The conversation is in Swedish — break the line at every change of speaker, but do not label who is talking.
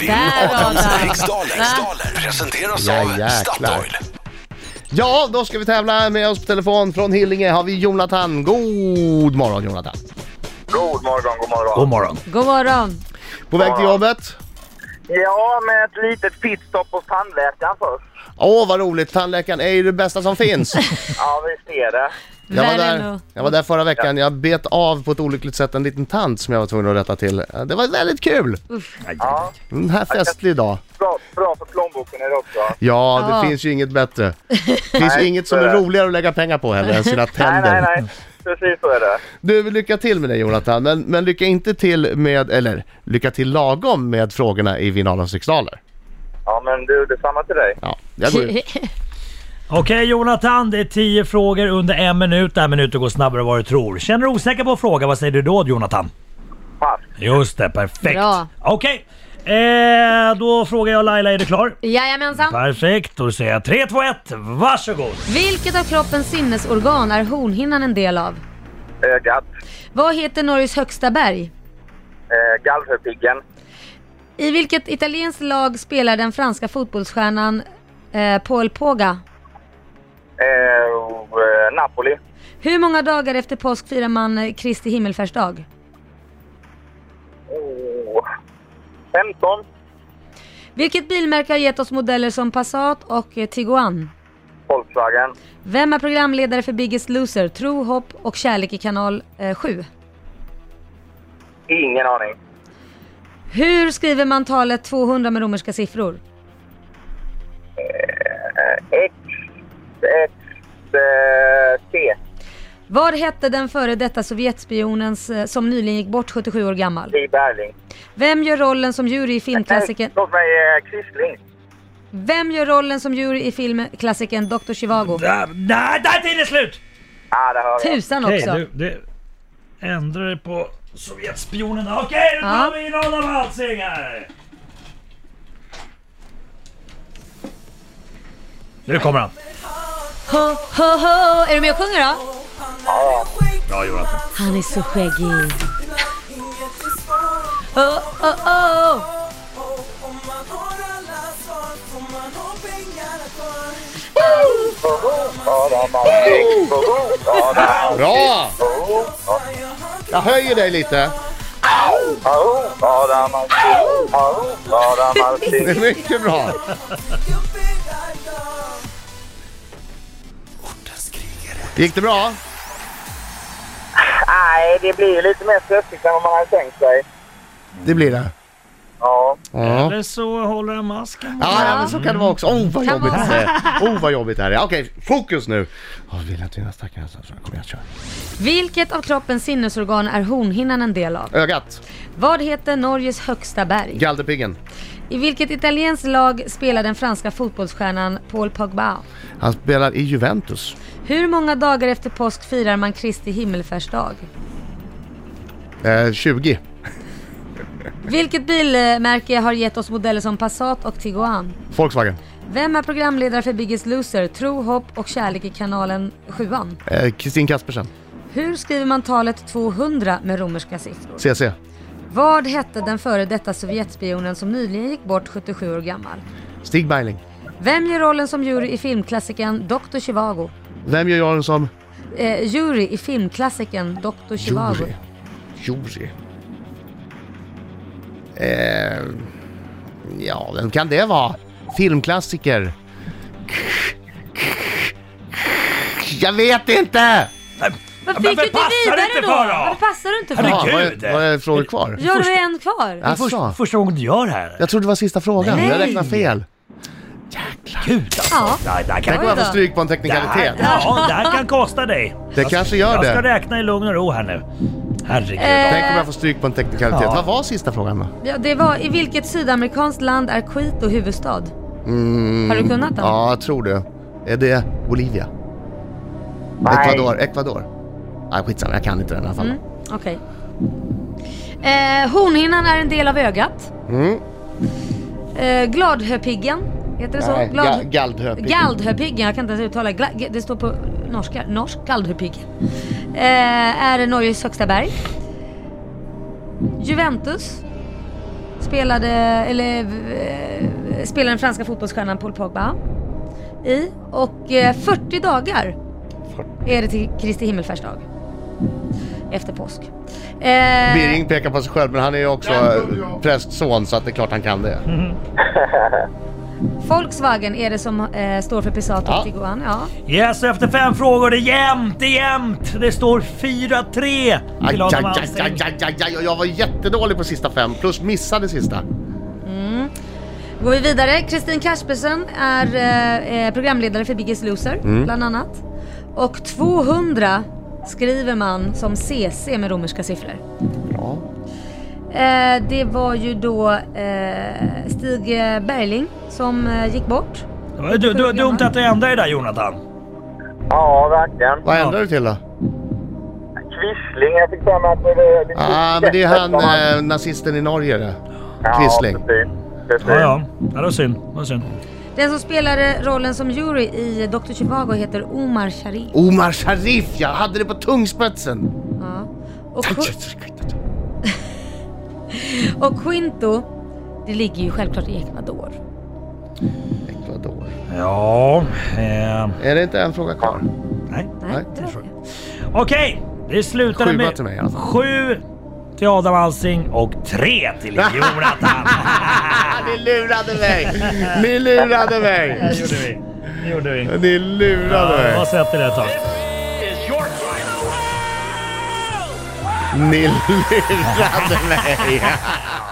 Vinn
Där,
Adams
Adam.
riksdaler. riksdaler. Presenteras
Ja,
av
jäklar.
Statoil.
Ja, då ska vi tävla. Med oss på telefon från Hillinge har vi Jonathan. God morgon Jonathan.
God morgon, god morgon.
God morgon.
God morgon.
På väg till jobbet?
Ja, med ett litet pitstopp hos tandläkaren först.
Åh, vad roligt. Tandläkaren är ju det bästa som finns.
Ja, vi ser det.
Jag var,
Värre
där,
nog.
jag var där förra veckan. Jag bet av på ett olyckligt sätt en liten tand som jag var tvungen att rätta till. Det var väldigt kul.
Ja,
En här festlig dag.
bra, bra för plånboken är det också.
Ja, det
Ja.
finns ju inget bättre. Det finns ju
Nej,
inget som
så
är
är det.
roligare att lägga pengar på heller än sina
Nej, nej,
tänder.
nej. Precis så är det.
Du, lycka till med det Jonathan. Men, men lycka inte till med, eller lycka till lagom med frågorna i Vinnarnas riksdaler.
Ja, men du, detsamma till dig.
Ja, jag går ut.
Okej Jonathan, det är 10 frågor under en minut. Den här minuten går snabbare än vad du tror. Känner du osäker på en fråga, vad säger du då Jonathan?
Pass.
Just det, perfekt.
Bra.
Okej, eh, då frågar jag Laila, är du klar?
Jajamensan.
Perfekt, då säger jag 3, 2, 1, varsågod!
Vilket av kroppens sinnesorgan är hornhinnan en del av?
Ögat.
Vad heter Norges högsta berg?
Eh, Gallerpiggen.
I vilket italienskt lag spelar den franska fotbollsstjärnan eh, Paul Poga?
Eh, och, eh, Napoli.
Hur många dagar efter påsk firar man eh, Kristi himmelfärdsdag?
Oh. 15.
Vilket bilmärke har gett oss modeller som Passat och eh, Tiguan?
Volkswagen.
Vem är programledare för Biggest Loser, Tro, Hopp och Kärlek i kanal eh, 7?
Ingen aning.
Hur skriver man talet 200 med romerska siffror?
X. X. Eh, C.
Vad hette den före detta Sovjetspionens eh, som nyligen gick bort 77 år gammal?
C. Berling.
Vem gör rollen som jury i filmklassikern...
Nej, Låt mig eh, Quisling.
Vem gör rollen som jury i filmklassikern Dr. Chivago?
Där, nej, där är tiden slut!
Ah, där hör jag.
Tusan
Okej,
också!
du, du ändrar dig på Sovjetspionen. Okej, då
Ja.
tar vi in Adam Alsing här! Nu kommer han.
Ho, ho, ho. Är du med och sjunger då?
Bra Jonathan.
Han är så skäggig. Ho, ho, ho.
Bra! Jag höjer dig lite. Det är mycket bra.
Ortens krigare.
Gick det bra?
Nej, det blir ju lite mer stressigt än vad man hade tänkt sig.
Det blir det.
Ja.
Ja,
Eller så håller han masken.
ja ja, men så kan det vara också. Oh, vad
Kan
jobbigt
vara
det är. Oh, vad jobbigt det här är. Okej, fokus nu. Jag vill att dina stackare hästar ska- Kom igen, kör.
Vilket av kroppens sinnesorgan är hornhinnan en del av?
Ögat.
Vad heter Norges högsta berg?
Galderpiggen.
I vilket italienskt lag spelar den franska fotbollsstjärnan Paul Pogba?
Han spelar i Juventus.
Hur många dagar efter påsk firar man Kristi himmelfärdsdag?
Eh, 20.
Vilket bilmärke har gett oss modeller som Passat och Tiguan?
Volkswagen.
Vem är programledare för Biggest Loser, Tro, Hopp och Kärlek i kanalen 7
Eh, Kristin Kaspersen.
Hur skriver man talet 200 med romerska siffror?
CC.
Vad hette den före detta Sovjetspionen som nyligen gick bort 77 år gammal?
Stig Bergling.
Vem gör rollen som jury i filmklassikern Dr. Chivago?
Vem gör jag den som?
Eh, jury i filmklassikern Dr. Chivago.
Juri. Juri. Eh, ja, vem kan det vara? Filmklassiker. Jag vet inte!
Varför
Men
gick du inte
passar du
vidare
inte
då?
för då?
Varför passar du inte för?
Herregud.
Ja,
Ja, var, det- var det frågor kvar?
du har en kvar.
Ja.
Först,
Asså.
första gången du gör det här.
Jag trodde det var sista frågan.
Nej.
Jag räknade fel.
Gud alltså.
Ja.
Det, här- det här
Tänk om jag
kan,
får stryk på en teknikalitet.
ja, det här kan kosta dig.
Det kanske gör
Jag ska
det.
räkna i lugn och ro här nu. Herregud.
Eh.
Tänk om jag får stryk på en teknikalitet.
Ja.
Vad var sista frågan då?
Ja, det var i vilket sydamerikanskt land är Quito huvudstad? Har du kunnat den?
Mm. Ja, jag tror det. Är det Bolivia? Ecuador? Ecuador? Nej, skitsamma. Jag kan inte den i alla
Mm.
fall.
Okej. Eh, hornhinnan är en del av ögat.
Mm.
Eh, gladhöpiggen, heter det så?
Nej,
Glad-
ga- Galdhöpiggen.
Galdhöpiggen, jag kan inte ens uttala. Gla- g- det står på norska. Norsk Galdhöpiggen. Eh, är Norges högsta berg. Juventus spelade, eller eh, spelade den franska fotbollsstjärnan Paul Pogba i. Och eh, 40 dagar är det till Kristi himmelfärdsdag. Efter påsk. Eh,
Biring pekar på sig själv, men han är ju också eh, prästson så att det är klart han kan det.
Volkswagen är det som eh, står för Passat och
Ja.
Tiguan. Ja.
Yes, efter fem frågor. Det är jämnt, det är jämnt. Det står 4-3
Aj,
till
aj, aj,
Adam Alsing.
aj, aj, aj, aj, och jag var jättedålig på sista fem, plus missade sista.
Går vi vidare. Kristin Kaspersen är eh, eh, programledare för Biggest Loser, bland annat. Och 200 skriver man som CC med romerska siffror.
Bra.
Eh, det var ju då eh, Stig Berling som eh, gick bort.
Det var du, du, dumt att du ändrade dig där Jonathan.
Ja, verkligen.
Vad ändrar du till då?
Quisling, jag fick för mig att det är lite...
Ah, men det är han,
som
eh, nazisten i Norge det.
Ja,
Quisling.
precis. Precis.
Ja, ja. ja det var synd. Det var synd.
Den som spelade rollen som jury i Dr. Chivago heter Omar Sharif.
Omar Sharif, jag hade det på tungspetsen!
Ja. Och, Qu- och Quinto, det ligger ju självklart i Ecuador.
Ecuador.
Ja, eh,
Är det inte en fråga kvar?
nej.
Nej,
Nej,
det var det.
Okej, det slutade
Sjua
med
till mig, alltså.
sju till Adam Alsing och tre till Jonathan.
Ni lurade mig! Ni lurade mig!
det gjorde vi. Det gjorde vi.
Ni
Ja,
lurade
jag har
mig!
sett det där ett tag.
Ni lurade mig!